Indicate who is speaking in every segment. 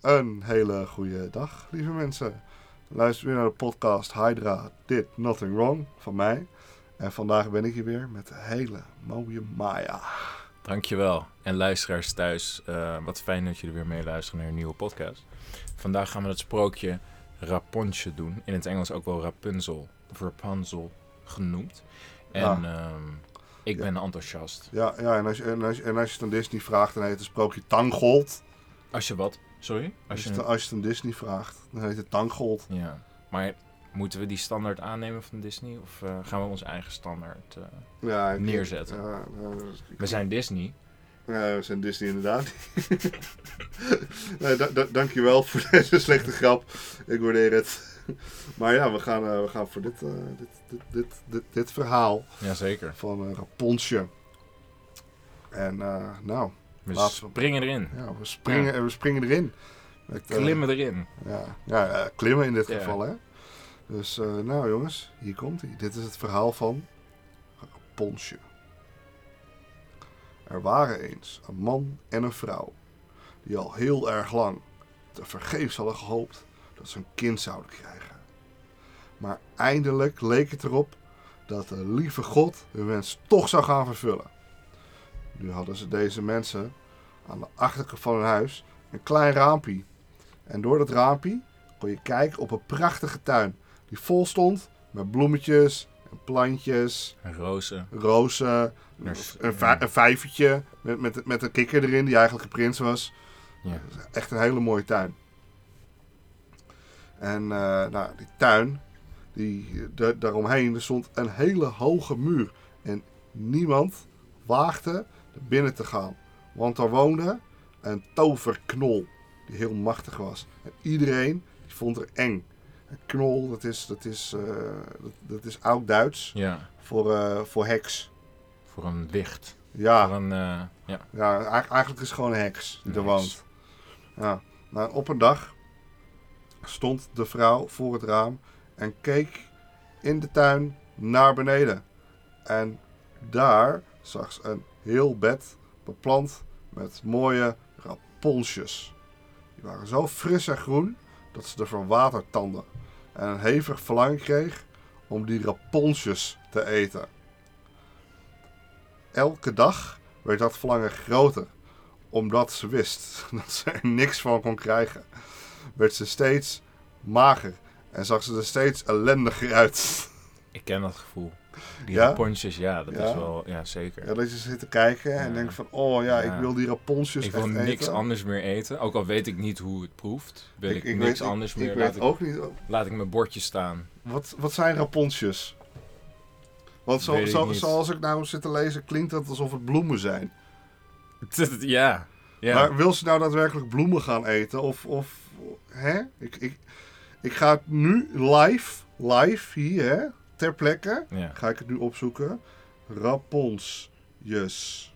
Speaker 1: Een hele goede dag, lieve mensen. Luister weer naar de podcast Hydra Did Nothing Wrong van mij. En vandaag ben ik hier weer met de hele mooie Maya.
Speaker 2: Dankjewel. En luisteraars thuis, eh, wat fijn dat jullie weer meeluisteren naar een nieuwe podcast. Vandaag gaan we het sprookje Rapunzel doen. In het Engels ook wel Rapunzel of Rapunzel genoemd. En
Speaker 1: Ja.
Speaker 2: ehm, ik
Speaker 1: Ja.
Speaker 2: ben enthousiast.
Speaker 1: Ja, ja en, als je, en, als je, en als je het aan Disney vraagt, dan heet het sprookje Tangold.
Speaker 2: Als je wat? Sorry? Als
Speaker 1: Als,
Speaker 2: je
Speaker 1: je het- als je het aan Disney vraagt, dan heet het Tangold.
Speaker 2: Ja. Maar moeten we die standaard aannemen van Disney? Of eh, gaan we onze eigen standaard... eh,
Speaker 1: Ja, ik-
Speaker 2: Neerzetten.
Speaker 1: Ja, ja, dat is-
Speaker 2: We zijn Disney.
Speaker 1: Ja, we zijn Disney inderdaad. nee, da- da- dankjewel voor deze slechte grap. Ik waardeer het. Maar ja, we gaan, eh, we gaan voor dit, eh, dit, dit, dit, dit, dit verhaal
Speaker 2: Jazeker.
Speaker 1: van eh Rapunzel. En eh, nou,
Speaker 2: We
Speaker 1: Laten we-
Speaker 2: springen erin.
Speaker 1: ja, we, springen, we springen erin. Met, eh,
Speaker 2: Klimmen erin.
Speaker 1: ja, ja, eh, klimmen in dit
Speaker 2: Ja.
Speaker 1: geval, hè. Dus eh, nou jongens, hier komt hij. Dit is het verhaal van Rapunzel. Er waren eens een man en een vrouw die al heel erg lang tevergeefs hadden gehoopt dat ze een kind zouden krijgen. Maar eindelijk leek het erop dat de lieve God hun wens toch zou gaan vervullen. Nu hadden ze deze mensen aan de achterkant van hun huis een klein raampje. En door dat raampje kon je kijken op een prachtige tuin die vol stond met bloemetjes en plantjes,
Speaker 2: Rozen.
Speaker 1: rozen, een,
Speaker 2: Ners-
Speaker 1: een vij- een vijvertje met, met, met een kikker erin die eigenlijk een prins was
Speaker 2: Ja.
Speaker 1: echt een hele mooie tuin. En eh, nou, die tuin, die, da- daaromheen er stond een hele hoge muur. En niemand waagde er binnen te gaan. Want daar woonde een toverknol die heel machtig was. En iedereen die vond er eng. Een knol, dat is, dat is, eh, dat, dat is oud-Duits
Speaker 2: ja.
Speaker 1: voor, eh, voor heks.
Speaker 2: Voor een licht.
Speaker 1: Ja,
Speaker 2: Voor een... eh, ja.
Speaker 1: Ja, eigenlijk- eigenlijk is het gewoon een heks die er
Speaker 2: Nice.
Speaker 1: woont. Ja. Nou, op een dag stond de vrouw voor het raam en keek in de tuin naar beneden. En daar zag ze een heel bed beplant met mooie raponsjes. Die waren zo fris en groen dat ze ervan watertanden en een hevig verlangen kreeg om die raponsjes te eten. Elke dag werd dat verlangen groter. Omdat ze wist dat ze er niks van kon krijgen, werd ze steeds mager en zag ze er steeds ellendiger uit.
Speaker 2: Ik ken dat gevoel. Die
Speaker 1: Ja?
Speaker 2: ja? ja, dat
Speaker 1: Ja?
Speaker 2: is wel, ja zeker.
Speaker 1: Ja, dat je zit te kijken en
Speaker 2: Ja.
Speaker 1: denkt van, oh ja,
Speaker 2: Ja.
Speaker 1: ik wil die raponsjes
Speaker 2: ik wil
Speaker 1: dus echt
Speaker 2: niks
Speaker 1: eten.
Speaker 2: anders meer eten. Ook al weet ik niet hoe het proeft, wil ik, niks
Speaker 1: weet-
Speaker 2: anders
Speaker 1: ik,
Speaker 2: meer.
Speaker 1: Ik
Speaker 2: laat,
Speaker 1: weet
Speaker 2: ik,
Speaker 1: ook niet. oh,
Speaker 2: laat ik mijn bordje staan.
Speaker 1: Wat, wat zijn raponsjes? Want zo,
Speaker 2: Weet ik
Speaker 1: zo-
Speaker 2: niet.
Speaker 1: zoals ik nou zit te lezen, klinkt dat alsof het bloemen zijn.
Speaker 2: ja. ja.
Speaker 1: Maar wil ze nou daadwerkelijk bloemen gaan eten? Of, of hè? Ik, ik, ik ga het nu live, live hier, hè, ter plekke,
Speaker 2: ja.
Speaker 1: ga ik het nu opzoeken. Raponsjes.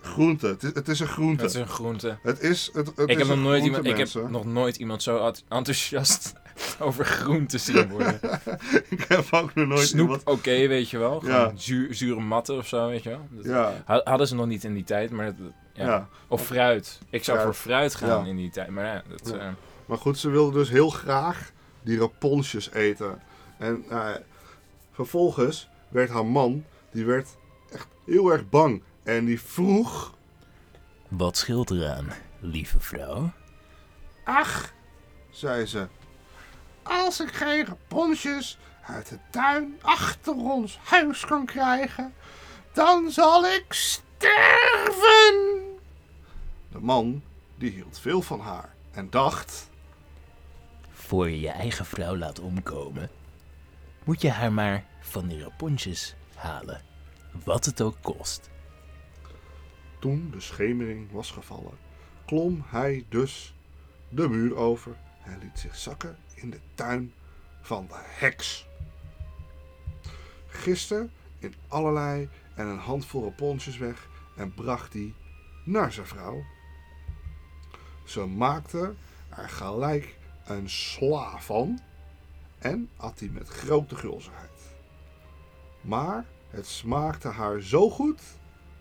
Speaker 1: Groente. Het is, het is een groente.
Speaker 2: Dat is een groente.
Speaker 1: Het is, het, het is
Speaker 2: Ik
Speaker 1: een
Speaker 2: heb, nog nooit
Speaker 1: groente,
Speaker 2: iemand, ik heb
Speaker 1: mensen.
Speaker 2: nog nooit iemand zo at- enthousiast over groenten zien worden.
Speaker 1: ik heb ook nog nooit
Speaker 2: Snoep,
Speaker 1: iemand...
Speaker 2: oké, weet je wel.
Speaker 1: Ja.
Speaker 2: Gewoon zuur- zure matten of zo, weet je wel. Dat-
Speaker 1: Ja,
Speaker 2: ha- Hadden ze nog niet in die tijd, maar... dat- ja.
Speaker 1: ja.
Speaker 2: Of fruit. Ik zou
Speaker 1: Fruit.
Speaker 2: voor fruit
Speaker 1: Ja.
Speaker 2: gaan in die tijd, maar ja, dat...
Speaker 1: Ja.
Speaker 2: eh,
Speaker 1: Maar goed, ze wilde dus heel graag die raponsjes eten. En eh, vervolgens werd haar man, die werd echt heel erg bang. En die vroeg...
Speaker 3: Wat scheelt eraan, lieve vrouw?
Speaker 1: Ach, zei ze. Als ik geen raponsjes uit de tuin achter ons huis kan krijgen, dan zal ik sterven. De man, die hield veel van haar en dacht...
Speaker 3: Voor je je eigen vrouw laat omkomen, moet je haar maar van die rapontjes halen. Wat het ook kost.
Speaker 1: Toen de schemering was gevallen, klom hij dus de muur over en liet zich zakken in de tuin van de heks. Giste in allerlei en een handvol raponsjes weg en bracht die naar zijn vrouw. Ze maakte er gelijk een sla van en at die met grote gulzigheid. Maar het smaakte haar zo goed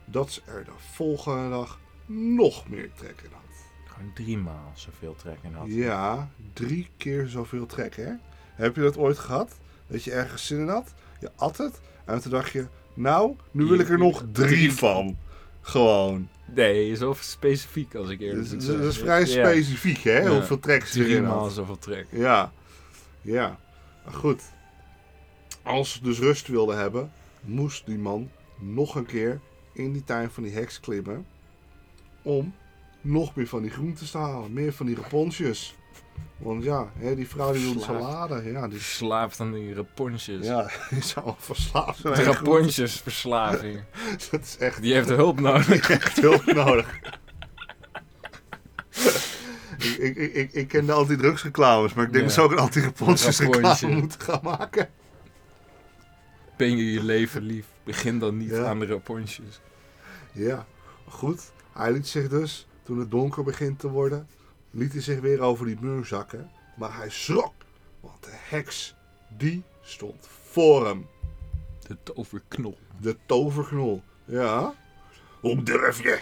Speaker 1: dat ze er de volgende dag nog meer trek in had.
Speaker 2: gewoon drie maal zoveel trek in had.
Speaker 1: Ja, drie keer zoveel trek, hè? Heb je dat ooit gehad? Dat je ergens zin in had? Je at het en toen dacht je, nou, nu wil ik er nog drie van. Gewoon.
Speaker 2: Nee, is wel specifiek als ik eerlijk
Speaker 1: Dus-
Speaker 2: moet
Speaker 1: dus- Dat is,
Speaker 2: zeggen.
Speaker 1: vrij
Speaker 2: Ja,
Speaker 1: specifiek, hè?
Speaker 2: Ja.
Speaker 1: Hoeveel tracks je
Speaker 2: Drie
Speaker 1: erin
Speaker 2: maal
Speaker 1: had.
Speaker 2: zoveel trek.
Speaker 1: Ja. Ja. Maar goed. Als ze dus rust wilden hebben, moest die man nog een keer in die tuin van die heks klimmen. Om nog meer van die groentes te halen. Meer van die reponsjes. Want ja, hè, die vrouw die wilde
Speaker 2: Verslaafd.
Speaker 1: salade. Ja,
Speaker 2: Die
Speaker 1: die,
Speaker 2: slaapt aan die rapontjes.
Speaker 1: ja, die zou al verslaafd zijn. aan groenten.
Speaker 2: Rapontjesverslaving.
Speaker 1: Dat is echt
Speaker 2: Die heeft hulp nodig.
Speaker 1: echt hulp nodig. ik, ik, ik- ik, ik ken de antidrugsreclames, maar ik denk
Speaker 2: Ja.
Speaker 1: dat ze ook een anti-reponsjes reclame
Speaker 2: Rapontje.
Speaker 1: moeten gaan maken.
Speaker 2: Ben je je leven lief? Begin dan niet
Speaker 1: Ja.
Speaker 2: aan de rapontjes.
Speaker 1: Ja, goed. Hij liet zich dus, toen het donker begint te worden, liet hij zich weer over die muur zakken. Maar hij schrok, want de heks, die stond voor hem.
Speaker 2: De toverknol.
Speaker 1: De toverknol. Ja? Hoe durf je?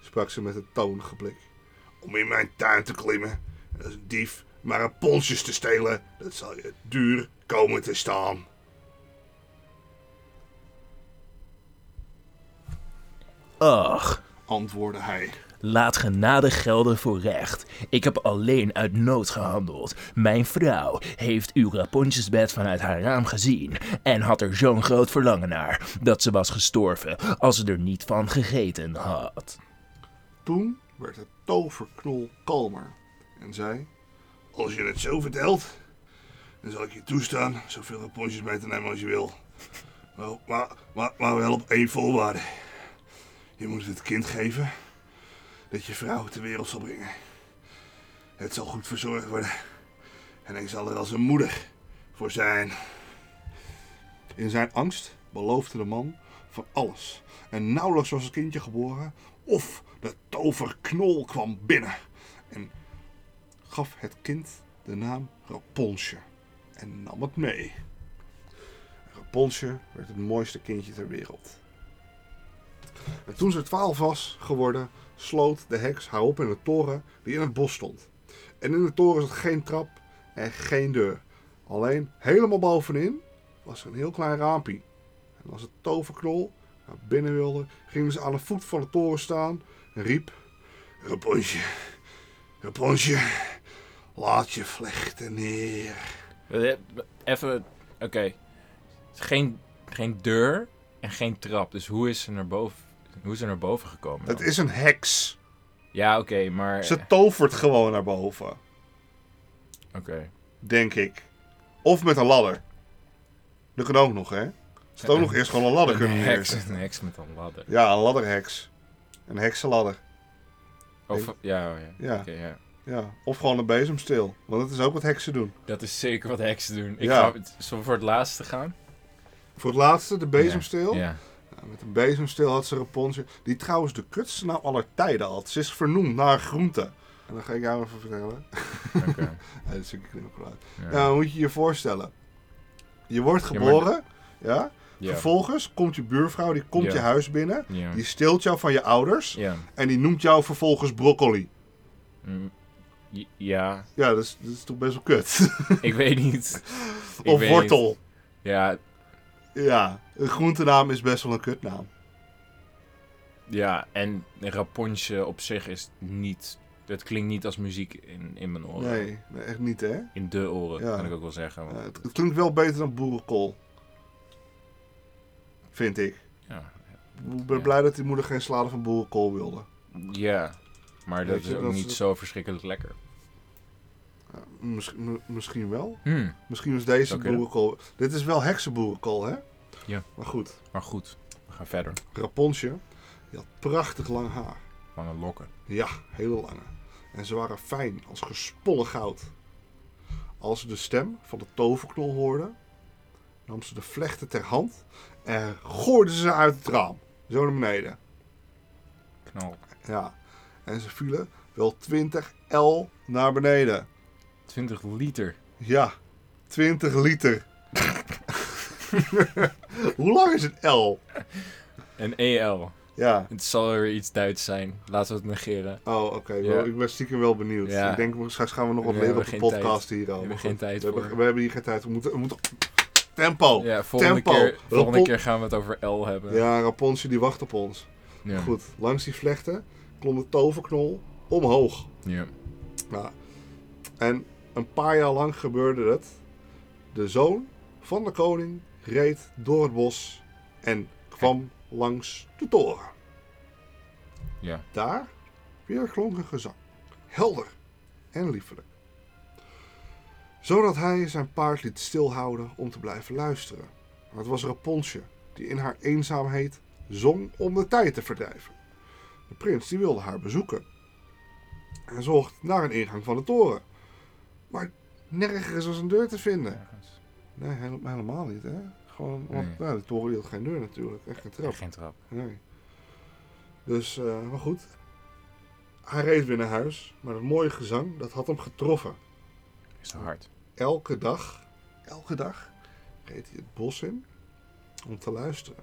Speaker 1: sprak ze met een toonige blik. Om in mijn tuin te klimmen en als een dief maar een ponsjes te stelen, dat zal je duur komen te staan.
Speaker 3: Ach,
Speaker 1: Antwoordde hij.
Speaker 3: laat genade gelden voor recht. Ik heb alleen uit nood gehandeld. Mijn vrouw heeft uw rapontjesbed vanuit haar raam gezien en had er zo'n groot verlangen naar dat ze was gestorven als ze er niet van gegeten had.
Speaker 1: Toen werd de toverknol kalmer en zei: Als je het zo vertelt, dan zal ik je toestaan zoveel rapportjes mee te nemen als je wil. Maar, maar, maar, maar wel op één voorwaarde: Je moet het kind geven dat je vrouw ter wereld zal brengen. Het zal goed verzorgd worden en ik zal er als een moeder voor zijn. In zijn angst beloofde de man van alles. En nauwelijks was het kindje geboren of de toverknol kwam binnen en gaf het kind de naam Raponsje en nam het mee. Raponsje werd het mooiste kindje ter wereld. En toen ze twaalf was geworden, sloot de heks haar op in een toren die in het bos stond. En in de toren zat geen trap en geen deur. Alleen helemaal bovenin was er een heel klein raampje. En als de toverknol naar binnen wilde, gingen ze aan de voet van de toren staan en riep: Raponsje, Raponsje, laat je vlechten neer.
Speaker 2: Eh, Even, oké. Geen, geen deur en geen trap. Dus hoe is ze naar boven, hoe is ze naar boven gekomen?
Speaker 1: Het
Speaker 2: dan?
Speaker 1: is een heks.
Speaker 2: Ja, oké, maar...
Speaker 1: Ze tovert gewoon naar boven,
Speaker 2: eh, Oké.
Speaker 1: denk ik. Of met een ladder. Dat kan ook nog, hè? Ze had ook nog eerst gewoon een ladder
Speaker 2: Een
Speaker 1: kunnen
Speaker 2: heks,
Speaker 1: neerzetten.
Speaker 2: een heks met een ladder.
Speaker 1: Ja, een ladderheks. Een heksenladder.
Speaker 2: Of, ja, oh ja.
Speaker 1: Ja.
Speaker 2: Oké, ja.
Speaker 1: Ja. Of gewoon een bezemsteel. Want dat is ook wat heksen doen.
Speaker 2: Dat is zeker wat heksen doen. Ik
Speaker 1: Ja.
Speaker 2: ga, zullen we voor het laatste gaan?
Speaker 1: Voor het laatste, de bezemsteel.
Speaker 2: Ja. ja.
Speaker 1: Ja, met een bezemsteel had ze Rapunzel. Die trouwens de kutste naam aller tijden had. Ze is vernoemd naar een groente. En dan ga ik jou even vertellen.
Speaker 2: Oké.
Speaker 1: Ja, dat is een knip uit.
Speaker 2: Ja.
Speaker 1: Ja, dan moet je je voorstellen. Je wordt
Speaker 2: maar-
Speaker 1: geboren. Ja,
Speaker 2: Ja.
Speaker 1: Vervolgens komt je buurvrouw, die komt
Speaker 2: Ja.
Speaker 1: je huis binnen.
Speaker 2: Ja.
Speaker 1: Die steelt jou van je ouders.
Speaker 2: Ja.
Speaker 1: En die noemt jou vervolgens broccoli.
Speaker 2: Mm, j- Ja,
Speaker 1: Ja, dat is, dat is toch best wel kut.
Speaker 2: ik weet niet. Ik
Speaker 1: of
Speaker 2: weet
Speaker 1: wortel.
Speaker 2: niet. Ja,
Speaker 1: Ja, een groentenaam is best wel een kutnaam.
Speaker 2: ja, en een Rapunzel op zich is niet... Dat klinkt niet als muziek in, in mijn oren.
Speaker 1: Nee, nee, echt niet hè.
Speaker 2: In de oren,
Speaker 1: Ja.
Speaker 2: kan ik ook wel zeggen. want-
Speaker 1: Ja, het, het klinkt wel beter dan boerenkool. Vind ik.
Speaker 2: ja.
Speaker 1: Ik ben
Speaker 2: Ja.
Speaker 1: blij dat die moeder geen salade van boerenkool wilde.
Speaker 2: ja, maar dat
Speaker 1: Weet je,
Speaker 2: is ook
Speaker 1: dat
Speaker 2: niet
Speaker 1: is-
Speaker 2: zo verschrikkelijk lekker.
Speaker 1: Ja, misschien- m- misschien wel.
Speaker 2: Hmm,
Speaker 1: Misschien is deze
Speaker 2: Zou kunnen.
Speaker 1: boerenkool... Dit is wel heksenboerenkool, hè?
Speaker 2: Ja.
Speaker 1: Maar goed,
Speaker 2: Maar goed, we gaan verder.
Speaker 1: Raponsje, die had prachtig lang haar.
Speaker 2: Lange lokken.
Speaker 1: Ja, hele lange. En ze waren fijn als gesponnen goud. Als ze de stem van de toverknol hoorde, nam ze de vlechten ter hand en gooide ze uit het raam. Zo naar beneden.
Speaker 2: Knal.
Speaker 1: Ja. En ze vielen wel 20 L naar beneden.
Speaker 2: 20 liter.
Speaker 1: Ja, 20 liter. Hoe lang is een L?
Speaker 2: Een EL.
Speaker 1: Ja.
Speaker 2: Het zal weer iets Duits zijn. Laten we het negeren.
Speaker 1: Oh, oké.
Speaker 2: Ja.
Speaker 1: wel, Ik ben stiekem wel benieuwd.
Speaker 2: Ja.
Speaker 1: Ik denk, straks gaan we nog wat
Speaker 2: We
Speaker 1: leren op de
Speaker 2: hebben geen
Speaker 1: podcast hierover.
Speaker 2: hebben geen tijd
Speaker 1: we, hebben,
Speaker 2: voor.
Speaker 1: we hebben hier geen tijd. We moeten... We moeten... Tempo! Ja,
Speaker 2: Ja, volgende,
Speaker 1: Tempo.
Speaker 2: keer, volgende
Speaker 1: Rappel.
Speaker 2: keer gaan we het over L hebben.
Speaker 1: Rapunzel die wacht op ons.
Speaker 2: Ja.
Speaker 1: Goed, langs die vlechten klom de toverknol omhoog.
Speaker 2: Ja.
Speaker 1: Nou, en een paar jaar lang gebeurde het. De zoon van de koning reed door het bos en kwam langs de toren.
Speaker 2: Ja.
Speaker 1: Daar weer klonk een gezang, helder en liefelijk. Zodat hij zijn paard liet stilhouden om te blijven luisteren. Maar het was Rapunzel die in haar eenzaamheid zong om de tijd te verdrijven. De prins die wilde haar bezoeken en zocht naar een ingang van de toren. Maar nergens was een deur te vinden. Nee, hele- helemaal niet, hè? Gewoon, want
Speaker 2: Nee.
Speaker 1: nou, de toren die had geen deur natuurlijk, echt geen trap.
Speaker 2: Geen trap.
Speaker 1: Nee. Dus, eh, maar goed. Hij reed weer naar huis, maar dat mooie gezang, dat had hem getroffen.
Speaker 2: Is te hard.
Speaker 1: Elke dag, elke dag, reed hij het bos in om te luisteren.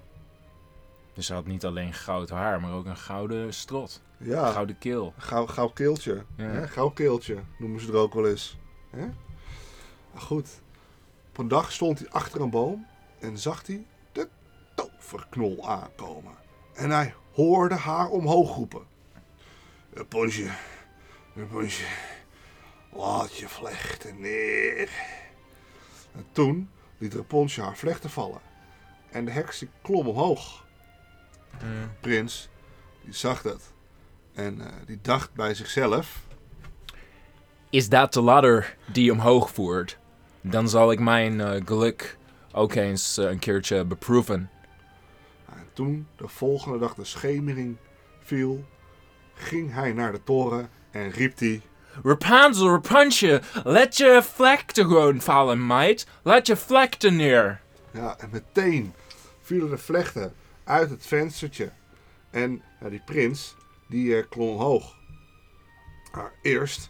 Speaker 2: Dus ze had niet alleen goud haar, maar ook een gouden strot.
Speaker 1: Ja,
Speaker 2: Gouden keel.
Speaker 1: gauw, gauw keeltje.
Speaker 2: Ja.
Speaker 1: Hè? Gauw keeltje, noemen ze het ook wel eens. Hè? Maar Goed. Op een dag stond hij achter een boom en zag hij de toverknol aankomen. En hij hoorde haar omhoog roepen. Rapunzel, Rapunzel, laat je vlechten neer. En toen liet Rapunzel haar vlechten vallen. En de heks die klom omhoog. Prins, die zag dat. En eh, die dacht bij zichzelf...
Speaker 2: Is dat de ladder die omhoog voert? Dan zal ik mijn eh, geluk ook eens eh, een keertje beproeven.
Speaker 1: nou, En toen de volgende dag de schemering viel, ging hij naar de toren en riep hij...
Speaker 2: Rapunzel, Rapunzel, laat je vlekten gewoon vallen, meid. Laat je vlekten neer.
Speaker 1: Ja, en meteen vielen de vlechten uit het venstertje. En ja, die prins, die eh, klom hoog. Maar eerst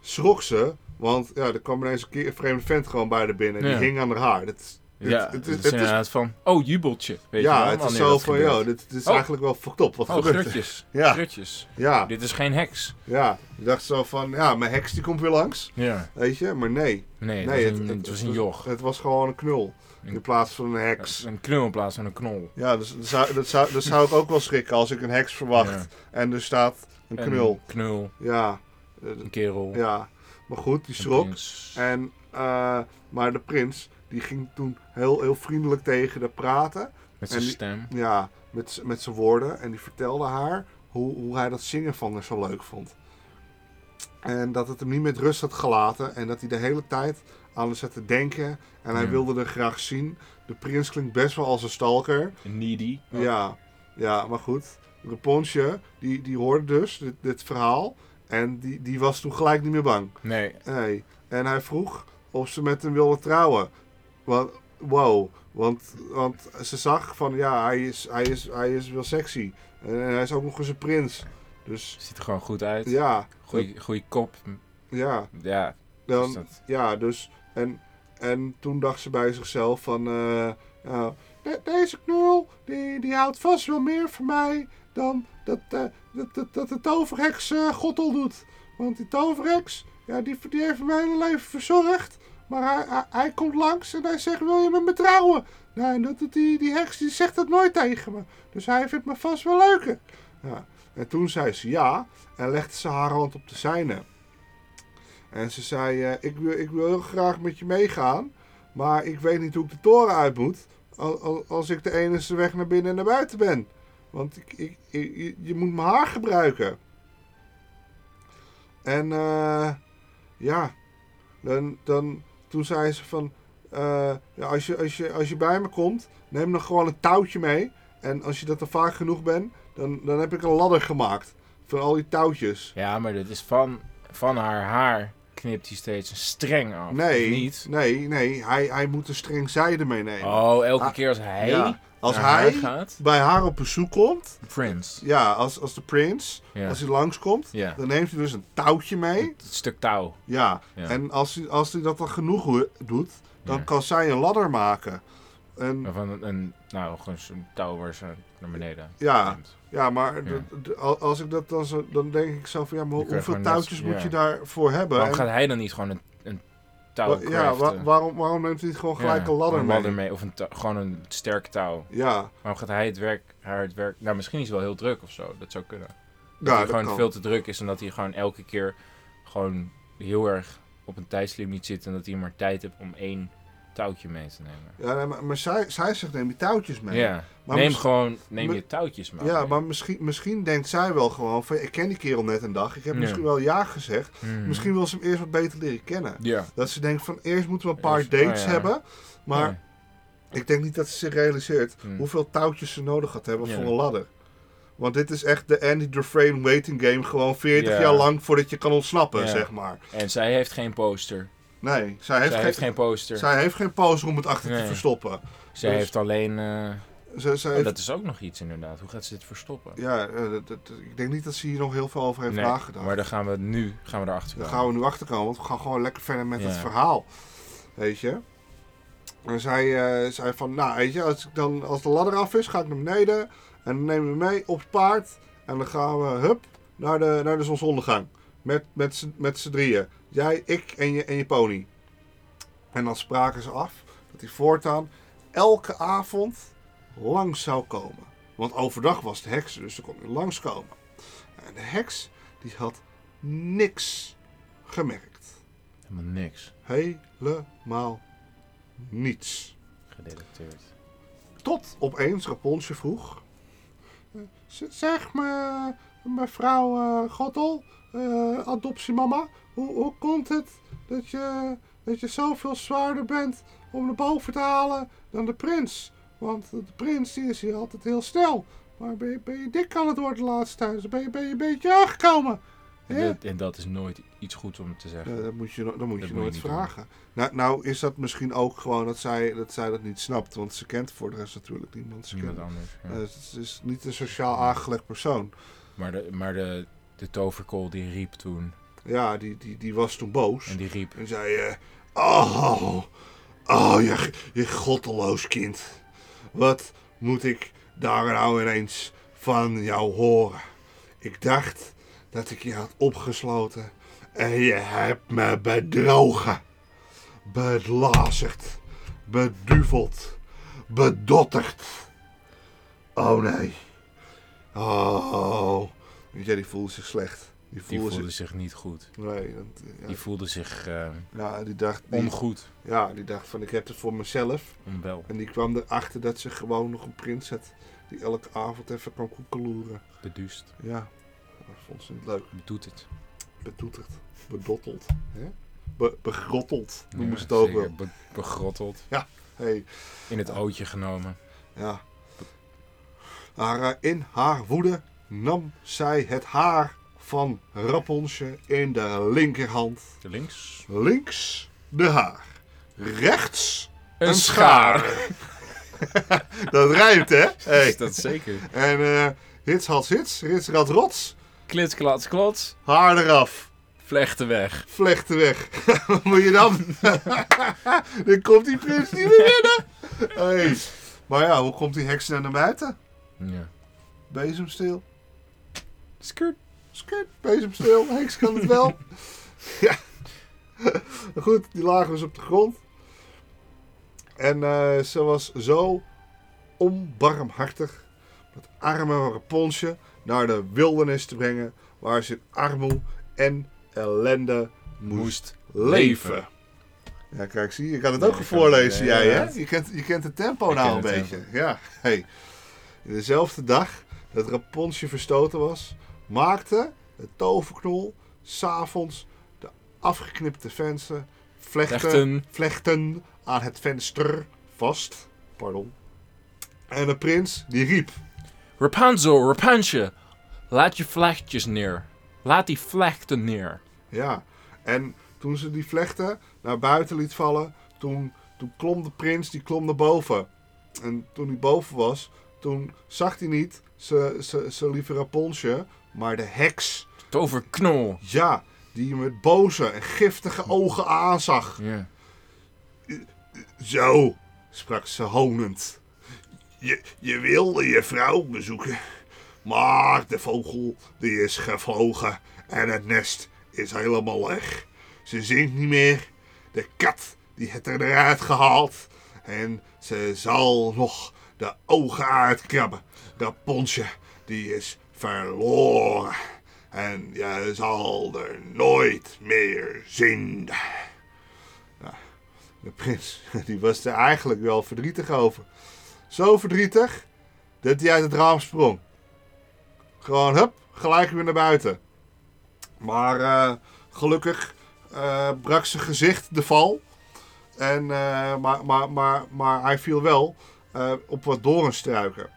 Speaker 1: schrok ze, want ja, er kwam ineens een, keer, een vreemde vent gewoon bij haar binnen.
Speaker 2: Ja.
Speaker 1: Die hing aan haar haar. Dit, is- dit-
Speaker 2: ja,
Speaker 1: dit
Speaker 2: het
Speaker 1: is-
Speaker 2: is,
Speaker 1: dit is-
Speaker 2: inderdaad van, oh jubeltje. Weet je
Speaker 1: ja,
Speaker 2: wel,
Speaker 1: het is
Speaker 2: wanneer
Speaker 1: zo
Speaker 2: dat
Speaker 1: van,
Speaker 2: gebeurt.
Speaker 1: joh, dit, dit is
Speaker 2: Oh.
Speaker 1: eigenlijk wel fucked up. Wat
Speaker 2: Oh,
Speaker 1: gebeurt er?
Speaker 2: grutjes.
Speaker 1: Ja.
Speaker 2: Grutjes.
Speaker 1: Ja,
Speaker 2: Dit is geen heks.
Speaker 1: ja. Ik dacht zo van, ja, mijn heks die komt weer langs.
Speaker 2: Ja.
Speaker 1: Weet je, maar nee.
Speaker 2: Nee,
Speaker 1: Nee,
Speaker 2: het, was een, het, was een joch.
Speaker 1: Het was gewoon een knul. In
Speaker 2: Een-
Speaker 1: plaats van een
Speaker 2: Het is
Speaker 1: heks.
Speaker 2: Een knul in plaats van een knol.
Speaker 1: Ja, dus dat zou, dat, zou, dat zou ik ook wel schrikken als ik een heks verwacht. En er staat een
Speaker 2: Een
Speaker 1: knul.
Speaker 2: knul,
Speaker 1: Ja. Eh,
Speaker 2: een kerel.
Speaker 1: ja. Maar goed, die
Speaker 2: een
Speaker 1: schrok.
Speaker 2: prins.
Speaker 1: En, eh, maar de prins, die ging toen heel, heel vriendelijk tegen haar praten.
Speaker 2: Met zijn
Speaker 1: en die-
Speaker 2: stem.
Speaker 1: Ja, met, z- met zijn woorden. En die vertelde haar hoe, hoe hij dat zingen van haar zo leuk vond. En dat het hem niet met rust had gelaten. En dat hij de hele tijd aan haar zat te denken. En hij
Speaker 2: Ja.
Speaker 1: wilde er graag zien. De prins klinkt best wel als een stalker.
Speaker 2: Needy.
Speaker 1: Ja, ja, maar goed. Rapunzel, die, die hoorde dus dit, dit verhaal. En die, die was toen gelijk niet meer bang.
Speaker 2: Nee.
Speaker 1: Nee. En hij vroeg of ze met hem wilde trouwen. Want, wow. Want, want ze zag van, ja, hij is, hij is, hij is wel sexy. En, hij is ook nog eens een prins. Dus
Speaker 2: Ziet er gewoon goed uit.
Speaker 1: ja,
Speaker 2: Goeie, goeie kop.
Speaker 1: ja.
Speaker 2: Ja, is
Speaker 1: Dan,
Speaker 2: dat.
Speaker 1: ja, dus. En, en toen dacht ze bij zichzelf van. eh, nou, de- deze knul, die, die houdt vast wel meer van mij dan dat, eh, dat, dat, dat de toverheks eh God al doet. Want die toverheks, ja, die, die heeft mijn hele leven verzorgd. Maar hij, hij, hij komt langs en hij zegt, wil je met me trouwen? Nou, en dat, doet die, die heks die zegt dat nooit tegen me. Dus hij vindt me vast wel leuker. Ja. En toen zei ze ja en legde ze haar hand op de zijne. En ze zei, eh, ik, wil, ik wil heel graag met je meegaan, maar ik weet niet hoe ik de toren uit moet al- al- als ik de enige weg naar binnen en naar buiten ben. Want ik, ik, ik- je- je moet mijn haar gebruiken. En eh, ja, dan, dan, toen zei ze van, eh, ja, als, je, als, je, als je bij me komt, neem dan gewoon een touwtje mee. En als je dat er vaak genoeg bent, dan, dan heb ik een ladder gemaakt van al die touwtjes.
Speaker 2: Ja, maar dit is van, van haar haar knipt hij steeds een streng af.
Speaker 1: Nee,
Speaker 2: Of Niet.
Speaker 1: nee, nee. Hij, hij moet een streng zijde meenemen.
Speaker 2: Oh, elke
Speaker 1: Ah,
Speaker 2: keer als hij
Speaker 1: Ja, Als
Speaker 2: naar haar
Speaker 1: hij
Speaker 2: gaat.
Speaker 1: bij haar op bezoek komt,
Speaker 2: Prince.
Speaker 1: ja, als, als de prins,
Speaker 2: Ja.
Speaker 1: als hij langskomt,
Speaker 2: Ja.
Speaker 1: dan neemt hij dus een touwtje mee.
Speaker 2: Het stuk touw.
Speaker 1: Ja,
Speaker 2: Ja.
Speaker 1: en als hij, als hij dat dan genoeg ho- doet, dan
Speaker 2: Ja.
Speaker 1: kan zij een ladder maken. En
Speaker 2: Of een, een, nou, gewoon zo'n touw waar ze naar beneden
Speaker 1: Ja.
Speaker 2: neemt.
Speaker 1: Ja, maar
Speaker 2: Ja.
Speaker 1: dat- dat- al- als ik dat dan zo, dan denk ik zo van ja, maar
Speaker 2: Je kan
Speaker 1: hoeveel
Speaker 2: gewoon net-
Speaker 1: touwtjes moet
Speaker 2: ja.
Speaker 1: je daarvoor hebben?
Speaker 2: Waarom
Speaker 1: En-
Speaker 2: gaat hij dan niet gewoon een, een touw
Speaker 1: wa- ja, wa-
Speaker 2: craften?
Speaker 1: waarom, waarom neemt hij niet gewoon gelijk
Speaker 2: Ja,
Speaker 1: een ladder mee?
Speaker 2: Of een tou- gewoon een sterk touw.
Speaker 1: Ja,
Speaker 2: Waarom gaat hij het werk, haar het werk... Nou, misschien is hij wel heel druk of zo. Dat zou kunnen. Dat
Speaker 1: ja,
Speaker 2: hij
Speaker 1: nou, dat
Speaker 2: gewoon
Speaker 1: kan.
Speaker 2: veel te druk is en dat hij gewoon elke keer gewoon heel erg op een tijdslimiet zit. En dat hij maar tijd heeft om één touwtje mee te nemen.
Speaker 1: Ja, nee, maar, maar zij, zij zegt neem die touwtjes mee.
Speaker 2: Ja,
Speaker 1: Maar
Speaker 2: neem
Speaker 1: mis-
Speaker 2: gewoon neem
Speaker 1: mi-
Speaker 2: je touwtjes maar.
Speaker 1: Ja,
Speaker 2: mee.
Speaker 1: maar misschien, misschien denkt zij wel gewoon van ik ken die kerel net een dag. Ik heb
Speaker 2: Ja.
Speaker 1: misschien wel ja gezegd.
Speaker 2: Hmm.
Speaker 1: Misschien wil ze hem eerst wat beter leren kennen.
Speaker 2: Ja.
Speaker 1: Dat ze denkt van eerst moeten we een paar
Speaker 2: Eerst-
Speaker 1: dates
Speaker 2: oh ja.
Speaker 1: hebben. Maar
Speaker 2: Ja.
Speaker 1: ik denk niet dat ze zich realiseert
Speaker 2: Hmm.
Speaker 1: hoeveel touwtjes ze nodig gaat hebben
Speaker 2: Ja.
Speaker 1: voor een ladder. Want dit is echt de Andy Dufresne waiting game. Gewoon 40
Speaker 2: Ja.
Speaker 1: jaar lang voordat je kan ontsnappen,
Speaker 2: Ja.
Speaker 1: zeg maar.
Speaker 2: En zij heeft geen poster.
Speaker 1: Nee, zij heeft,
Speaker 2: zij
Speaker 1: geen,
Speaker 2: heeft geen poster. Zij,
Speaker 1: zij heeft geen pauze om het achter
Speaker 2: Nee.
Speaker 1: te verstoppen. dus-
Speaker 2: heeft alleen... eh,
Speaker 1: Ze, ze
Speaker 2: oh,
Speaker 1: heeft-
Speaker 2: dat is ook nog iets inderdaad. Hoe gaat ze dit verstoppen?
Speaker 1: ja, eh, dat- dat- ik denk niet dat ze hier nog heel veel over heeft
Speaker 2: Nee,
Speaker 1: nagedacht.
Speaker 2: Maar daar gaan we nu gaan we erachter
Speaker 1: Daar
Speaker 2: komen.
Speaker 1: gaan we nu achter komen, want we gaan gewoon lekker verder met
Speaker 2: Ja.
Speaker 1: het verhaal. Weet je? En zij eh, zei van, nou weet je, als, ik dan, als de ladder af is, ga ik naar beneden. En dan nemen we mee op het paard. En dan gaan we, hup, naar de, naar de zonsondergang. Met, met, z'n- met z'n drieën. Jij, ik en je, en je pony. En dan spraken ze af dat hij voortaan elke avond langs zou komen. Want overdag was de heks, dus ze kon hij langskomen. En de heks, die had niks gemerkt.
Speaker 2: Helemaal niks
Speaker 1: Helemaal niets.
Speaker 2: gedetecteerd.
Speaker 1: Tot opeens Rapunzel vroeg... eh, "Z- Zeg me, mevrouw eh Goddel, eh, adoptiemama... Hoe, hoe komt het dat je, dat je zoveel zwaarder bent om naar boven te halen dan de prins? Want de prins die is hier altijd heel snel. Maar ben je, ben je dik aan het worden de laatste tijd? Ben je, ben je een beetje aangekomen?
Speaker 2: En,
Speaker 1: hè?"
Speaker 2: dat, en dat is nooit iets goeds om te zeggen.
Speaker 1: Ja, dat Eh, moet je, no- dat moet
Speaker 2: Dat
Speaker 1: je
Speaker 2: moet je
Speaker 1: nooit
Speaker 2: niet
Speaker 1: vragen. Nou, nou is dat misschien ook gewoon dat zij, dat zij dat niet snapt. Want ze kent voor de rest natuurlijk niemand. Ze
Speaker 2: Niemand
Speaker 1: kent,
Speaker 2: anders. ja.
Speaker 1: Eh, ze is niet een sociaal aangelegd persoon.
Speaker 2: maar de, maar de, de toverkool die riep toen.
Speaker 1: Ja, die, die, die was toen boos.
Speaker 2: En
Speaker 1: En,
Speaker 2: die riep.
Speaker 1: zei... eh, oh, oh je, g- je goddeloos kind. Wat moet ik daar nou ineens van jou horen? Ik dacht dat ik je had opgesloten. En je hebt me bedrogen. Belazerd. Beduveld. Bedotterd. Oh nee. Oh. Weet jij, die voelde zich slecht. Die
Speaker 2: Die
Speaker 1: voelde,
Speaker 2: voelde zich niet goed.
Speaker 1: zich... Nee, dat- ja,
Speaker 2: Die voelde zich eh,
Speaker 1: ja, die dacht... die-
Speaker 2: ongoed.
Speaker 1: ja, die dacht van ik heb het voor mezelf.
Speaker 2: Onwel.
Speaker 1: En die kwam erachter dat ze gewoon nog een prins had. Die elke avond even kan koekeloeren.
Speaker 2: Beduust.
Speaker 1: Ja, dat vond ze niet leuk.
Speaker 2: Doet het.
Speaker 1: Betoeterd. Bedotteld. Hè? Be- begrotteld noemen
Speaker 2: Ja,
Speaker 1: ze het ook
Speaker 2: zeker.
Speaker 1: wel.
Speaker 2: Be- begrotteld.
Speaker 1: Hey,
Speaker 2: In het ootje genomen.
Speaker 1: ja. Maar eh, in haar woede nam zij het haar van Raponsje in de linkerhand.
Speaker 2: Links.
Speaker 1: Links de haar. Rechts
Speaker 2: Een,
Speaker 1: een schaar. dat rijmt, hè? Hey.
Speaker 2: Is dat zeker?
Speaker 1: En eh hits, hats, hits, rits, rat, rots.
Speaker 2: Klits, klats, klots.
Speaker 1: Haar eraf.
Speaker 2: Vlechten weg.
Speaker 1: Vlechten weg. Wat moet je dan? dan komt die prins niet meer binnen. Hey. Maar ja, hoe komt die heks nou naar buiten?
Speaker 2: Ja.
Speaker 1: Bezemstil.
Speaker 2: Skirt.
Speaker 1: Skit, bezemstil. Heks kan het wel. ja. Goed, die lagen dus op de grond. En eh, ze was zo onbarmhartig dat arme Raponsje naar de wildernis te brengen waar ze in armoe en ellende moest
Speaker 2: Moest.
Speaker 1: leven. Ja, kijk, zie je, je kan het
Speaker 2: Ja,
Speaker 1: ook
Speaker 2: ik kan
Speaker 1: voorlezen,
Speaker 2: het, ja,
Speaker 1: jij, hè?
Speaker 2: ja.
Speaker 1: Je kent, je kent het tempo
Speaker 2: Ik
Speaker 1: nou
Speaker 2: ken
Speaker 1: een
Speaker 2: het
Speaker 1: beetje. Ja, hey. In dezelfde dag dat Rapunzel verstoten was, maakte de toverknol s'avonds de afgeknipte venster vlechten,
Speaker 2: Vlechten.
Speaker 1: vlechten aan het venster vast. Pardon. En de prins, die riep.
Speaker 2: Rapunzel, Rapunzel, laat je vlechtjes neer. Laat die vlechten neer.
Speaker 1: Ja, en toen ze die vlechten naar buiten liet vallen, toen, toen klom de prins, die klom naar boven. En toen hij boven was, toen zag hij niet ze, ze, ze lieve Rapunzel, maar de heks.
Speaker 2: Toverknol.
Speaker 1: Ja, die hem met boze en giftige ogen aanzag.
Speaker 2: Ja.
Speaker 1: Zo, sprak ze honend. Je, je wilde je vrouw bezoeken, Maar de vogel die is gevlogen en het nest is helemaal leeg. Ze zingt niet meer. De kat die heeft er eruit gehaald. En ze zal nog de ogen uitkrabben. Dat ponsje die is verloren. En je zal er nooit meer zien. Nou, de prins die was er eigenlijk wel verdrietig over. Zo verdrietig dat hij uit het raam sprong. Gewoon hup, gelijk weer naar buiten. Maar eh, gelukkig eh, brak zijn gezicht de val. En, eh, maar, maar, maar, maar hij viel wel eh, op wat doornstruiken.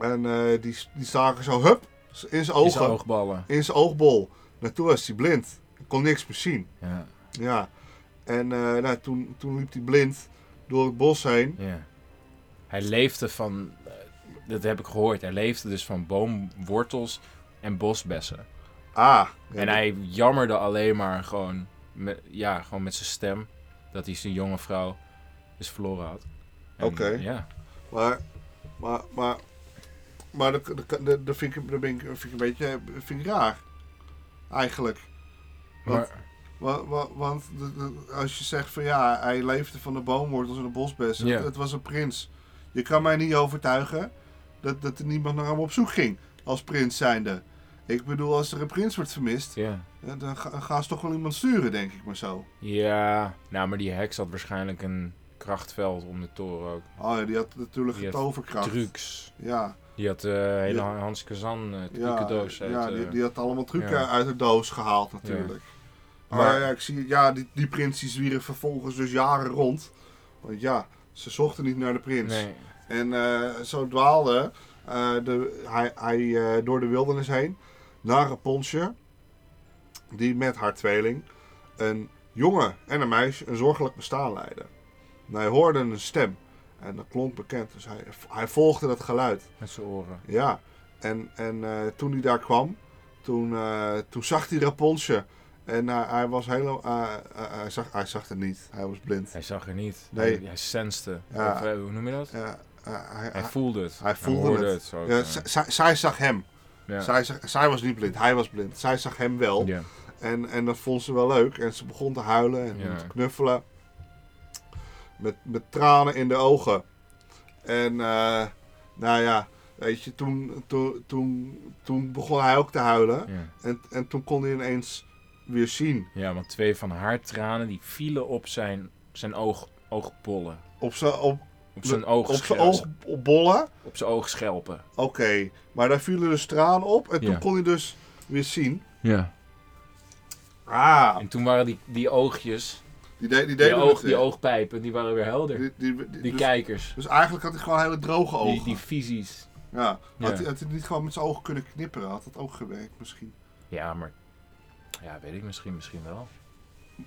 Speaker 1: En eh, die, die zagen zo hup in zijn
Speaker 2: Is
Speaker 1: ogen,
Speaker 2: oogballen.
Speaker 1: in zijn oogbol. Naartoe was hij blind. Kon niks meer zien.
Speaker 2: Ja.
Speaker 1: Ja. En eh, nou, toen, toen liep hij blind door het bos heen.
Speaker 2: ja. Hij leefde van, eh, dat heb ik gehoord, hij leefde dus van boomwortels en bosbessen.
Speaker 1: Ah. ja,
Speaker 2: en hij jammerde alleen maar gewoon met, ja, gewoon met zijn stem dat hij zijn jonge vrouw dus verloren had. En,
Speaker 1: Oké.
Speaker 2: Ja.
Speaker 1: Maar, maar, maar, maar dat, dat, dat- dat vind ik, dat ben ik, vind ik een beetje dat vind ik raar. Eigenlijk. Wat?
Speaker 2: Maar,
Speaker 1: Wa- wa- Want de- de- als je zegt van ja, hij leefde van de boomwortels en de bosbessen.
Speaker 2: Ja.
Speaker 1: Het, het was een prins. Je kan mij niet overtuigen dat, dat er niemand naar hem op zoek ging. Als prins zijnde. Ik bedoel, als er een prins wordt vermist,
Speaker 2: ja.
Speaker 1: eh, dan ga- gaan ze toch wel iemand sturen, denk ik maar zo.
Speaker 2: Ja, nou, maar die heks had waarschijnlijk een krachtveld om de toren ook.
Speaker 1: Oh ja, die had natuurlijk
Speaker 2: Die
Speaker 1: een
Speaker 2: had
Speaker 1: toverkracht.
Speaker 2: Trucs.
Speaker 1: Ja,
Speaker 2: Die had eh hele
Speaker 1: Ja.
Speaker 2: Hans Kazan eh
Speaker 1: ja,
Speaker 2: trucendoos uit.
Speaker 1: ja
Speaker 2: eh,
Speaker 1: die, die had allemaal trucken
Speaker 2: ja.
Speaker 1: uit de doos gehaald natuurlijk. Maar
Speaker 2: Maar-
Speaker 1: ja, ik zie, ja, die, die prins die zwierf vervolgens dus jaren rond. Want ja, ze zochten niet naar de prins.
Speaker 2: Nee.
Speaker 1: En eh, zo dwaalde eh, de, hij, hij eh, door de wildernis heen naar Rapunzel, die met haar tweeling een jongen en een meisje een zorgelijk bestaan leidde. En hij hoorde een stem en dat klonk bekend, dus hij, hij volgde dat geluid.
Speaker 2: Met zijn oren.
Speaker 1: Ja, en, en eh, toen hij daar kwam, toen, eh, toen zag hij Rapunzel en hij- hij was helemaal, eh, eh, hij, zag, hij zag het niet, hij was blind.
Speaker 2: Hij zag er niet.
Speaker 1: Nee.
Speaker 2: Hij, hij senste.
Speaker 1: Ja.
Speaker 2: Of, eh, hoe noem je dat?
Speaker 1: Ja, eh, hij,
Speaker 2: Hij
Speaker 1: hij-
Speaker 2: voelde het.
Speaker 1: hij voelde
Speaker 2: hoorde
Speaker 1: het.
Speaker 2: het. zo.
Speaker 1: ja,
Speaker 2: Ja.
Speaker 1: z- zij- zij zag hem.
Speaker 2: Ja.
Speaker 1: Zij, zag- zij was niet blind, hij was blind. Zij zag hem wel.
Speaker 2: Ja.
Speaker 1: En, en dat vond ze wel leuk. En ze begon te huilen en
Speaker 2: Ja.
Speaker 1: te knuffelen. Met, met tranen in de ogen. En eh, nou ja, weet je, toen, toen, toen, toen begon hij ook te huilen.
Speaker 2: Ja.
Speaker 1: En, en toen kon hij ineens weer zien.
Speaker 2: ja, want twee van haar tranen die vielen op zijn, zijn oog, oogbollen.
Speaker 1: Op zijn op,
Speaker 2: Op zijn
Speaker 1: op
Speaker 2: oogschelpen.
Speaker 1: zijn oog op bollen.
Speaker 2: Op zijn oogschelpen.
Speaker 1: Oké, maar daar vielen dus tranen op. En toen
Speaker 2: Ja.
Speaker 1: kon hij dus weer zien.
Speaker 2: Ja.
Speaker 1: Ah,
Speaker 2: En toen waren die, die oogjes,
Speaker 1: die, de, die
Speaker 2: die,
Speaker 1: deden
Speaker 2: oog,
Speaker 1: het
Speaker 2: die
Speaker 1: weer.
Speaker 2: oogpijpen, die waren weer helder. Die,
Speaker 1: Die, die, die, dus-
Speaker 2: kijkers.
Speaker 1: Dus eigenlijk had hij gewoon hele droge ogen.
Speaker 2: Die, die visies.
Speaker 1: Ja.
Speaker 2: Ja.
Speaker 1: Had, hij, had hij niet gewoon met zijn ogen kunnen knipperen, had dat ook gewerkt misschien.
Speaker 2: Ja, maar... Ja, weet ik misschien, misschien wel.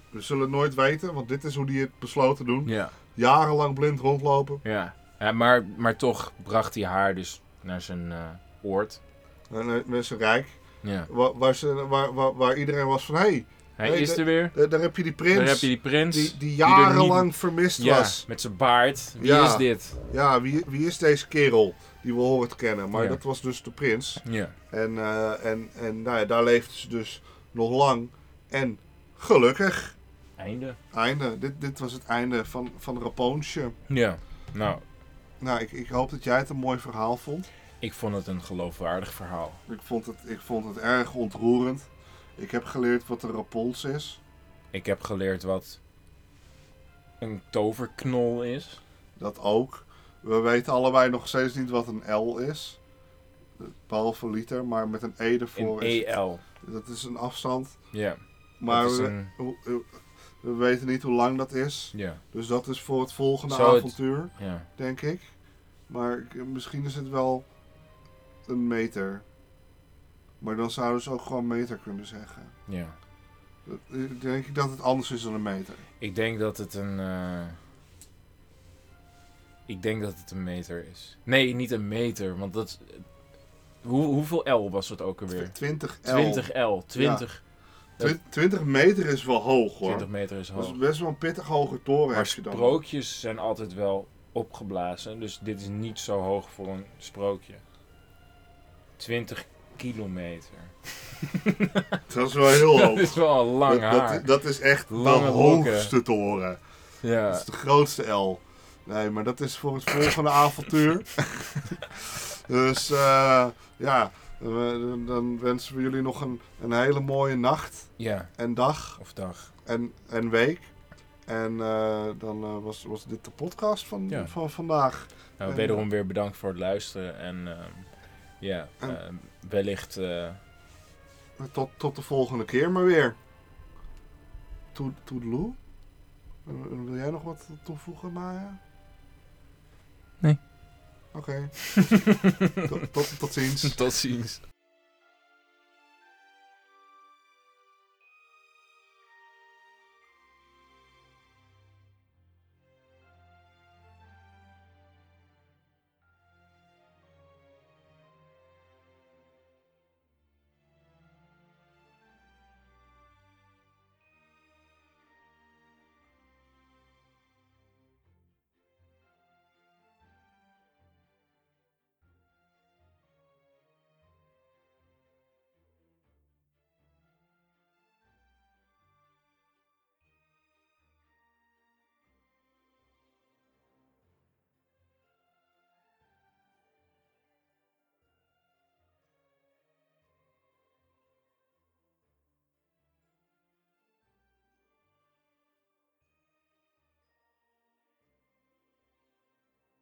Speaker 1: We zullen het nooit weten, want dit is hoe hij het besloot te doen.
Speaker 2: Ja.
Speaker 1: Jarenlang blind rondlopen.
Speaker 2: Ja, ja maar, maar toch bracht hij haar dus naar zijn eh, oord.
Speaker 1: En, eh, Met zijn rijk.
Speaker 2: Ja.
Speaker 1: Waar, waar, ze, waar, waar, waar iedereen was van, hé, hey,
Speaker 2: Hij
Speaker 1: Nee,
Speaker 2: is
Speaker 1: de-
Speaker 2: er weer.
Speaker 1: daar, daar heb je die prins.
Speaker 2: Daar heb je die prins.
Speaker 1: die, die
Speaker 2: er niet-
Speaker 1: jarenlang vermist
Speaker 2: ja,
Speaker 1: was.
Speaker 2: met zijn baard. Wie
Speaker 1: Ja.
Speaker 2: is dit?
Speaker 1: Ja, wie, wie is deze kerel die we horen te kennen? Maar
Speaker 2: Ja.
Speaker 1: dat was dus de prins.
Speaker 2: Ja.
Speaker 1: En, eh, en, en nou ja, daar leefde ze dus nog lang. En gelukkig,
Speaker 2: Einde.
Speaker 1: einde. Dit, dit was het einde van, van Rapunzel.
Speaker 2: Ja. Nou,
Speaker 1: Nou, ik, ik hoop dat jij het een mooi verhaal vond.
Speaker 2: ik vond het een geloofwaardig verhaal.
Speaker 1: Ik vond het, ik vond het erg ontroerend. Ik heb geleerd wat een rapols is.
Speaker 2: Ik heb geleerd wat een toverknol is.
Speaker 1: Dat ook. We weten allebei nog steeds niet wat een L is. Behalve liter, maar met een E
Speaker 2: In
Speaker 1: ervoor. is het-
Speaker 2: EL.
Speaker 1: dat is een afstand.
Speaker 2: Ja.
Speaker 1: Maar
Speaker 2: dat is
Speaker 1: we,
Speaker 2: een-
Speaker 1: hoe- hoe- we weten niet hoe lang dat is.
Speaker 2: ja.
Speaker 1: Dus dat is voor het volgende
Speaker 2: Zou het-
Speaker 1: avontuur,
Speaker 2: Ja.
Speaker 1: denk ik. Maar ik- misschien is het wel een meter. Maar dan zouden ze ook gewoon meter kunnen zeggen.
Speaker 2: Ja.
Speaker 1: Dat- ik Denk ik dat het anders is dan een meter.
Speaker 2: Ik denk dat het een. eh, Ik denk dat het een meter is. Nee, niet een meter, want dat. is- Hoe, hoeveel L was het ook alweer?
Speaker 1: 20 L.
Speaker 2: 20 L. 20,
Speaker 1: Twi- 20 meter is wel hoog hoor.
Speaker 2: 20 meter is
Speaker 1: Dat
Speaker 2: hoog.
Speaker 1: is best wel een pittig hoge toren
Speaker 2: Maar
Speaker 1: heb je dan.
Speaker 2: sprookjes zijn altijd wel opgeblazen, dus dit is niet zo hoog voor een sprookje. 20 kilometer.
Speaker 1: Dat is wel heel
Speaker 2: Dat
Speaker 1: hoog.
Speaker 2: is wel een lang
Speaker 1: Oh. dat,
Speaker 2: haar.
Speaker 1: dat, dat is echt
Speaker 2: Lange
Speaker 1: de
Speaker 2: blokken.
Speaker 1: hoogste toren. Dat
Speaker 2: ja.
Speaker 1: is de grootste L. Nee, maar dat is voor het volgende avontuur. dus eh, ja, we- dan wensen we jullie nog een, een hele mooie nacht
Speaker 2: ja,
Speaker 1: en dag
Speaker 2: of dag.
Speaker 1: en, en week. En eh, dan eh, was, was dit de podcast van,
Speaker 2: Ja.
Speaker 1: van vandaag.
Speaker 2: Nou,
Speaker 1: En,
Speaker 2: wederom weer bedankt voor het luisteren. En ehm, ja,
Speaker 1: En-
Speaker 2: ehm, wellicht... eh,
Speaker 1: Tot, tot de volgende keer maar weer. Toed- Toedeloe? En- en Eh, Wil jij nog wat toevoegen, Maya?
Speaker 3: Nee.
Speaker 1: Oké. tot, tot, tot ziens.
Speaker 2: tot ziens.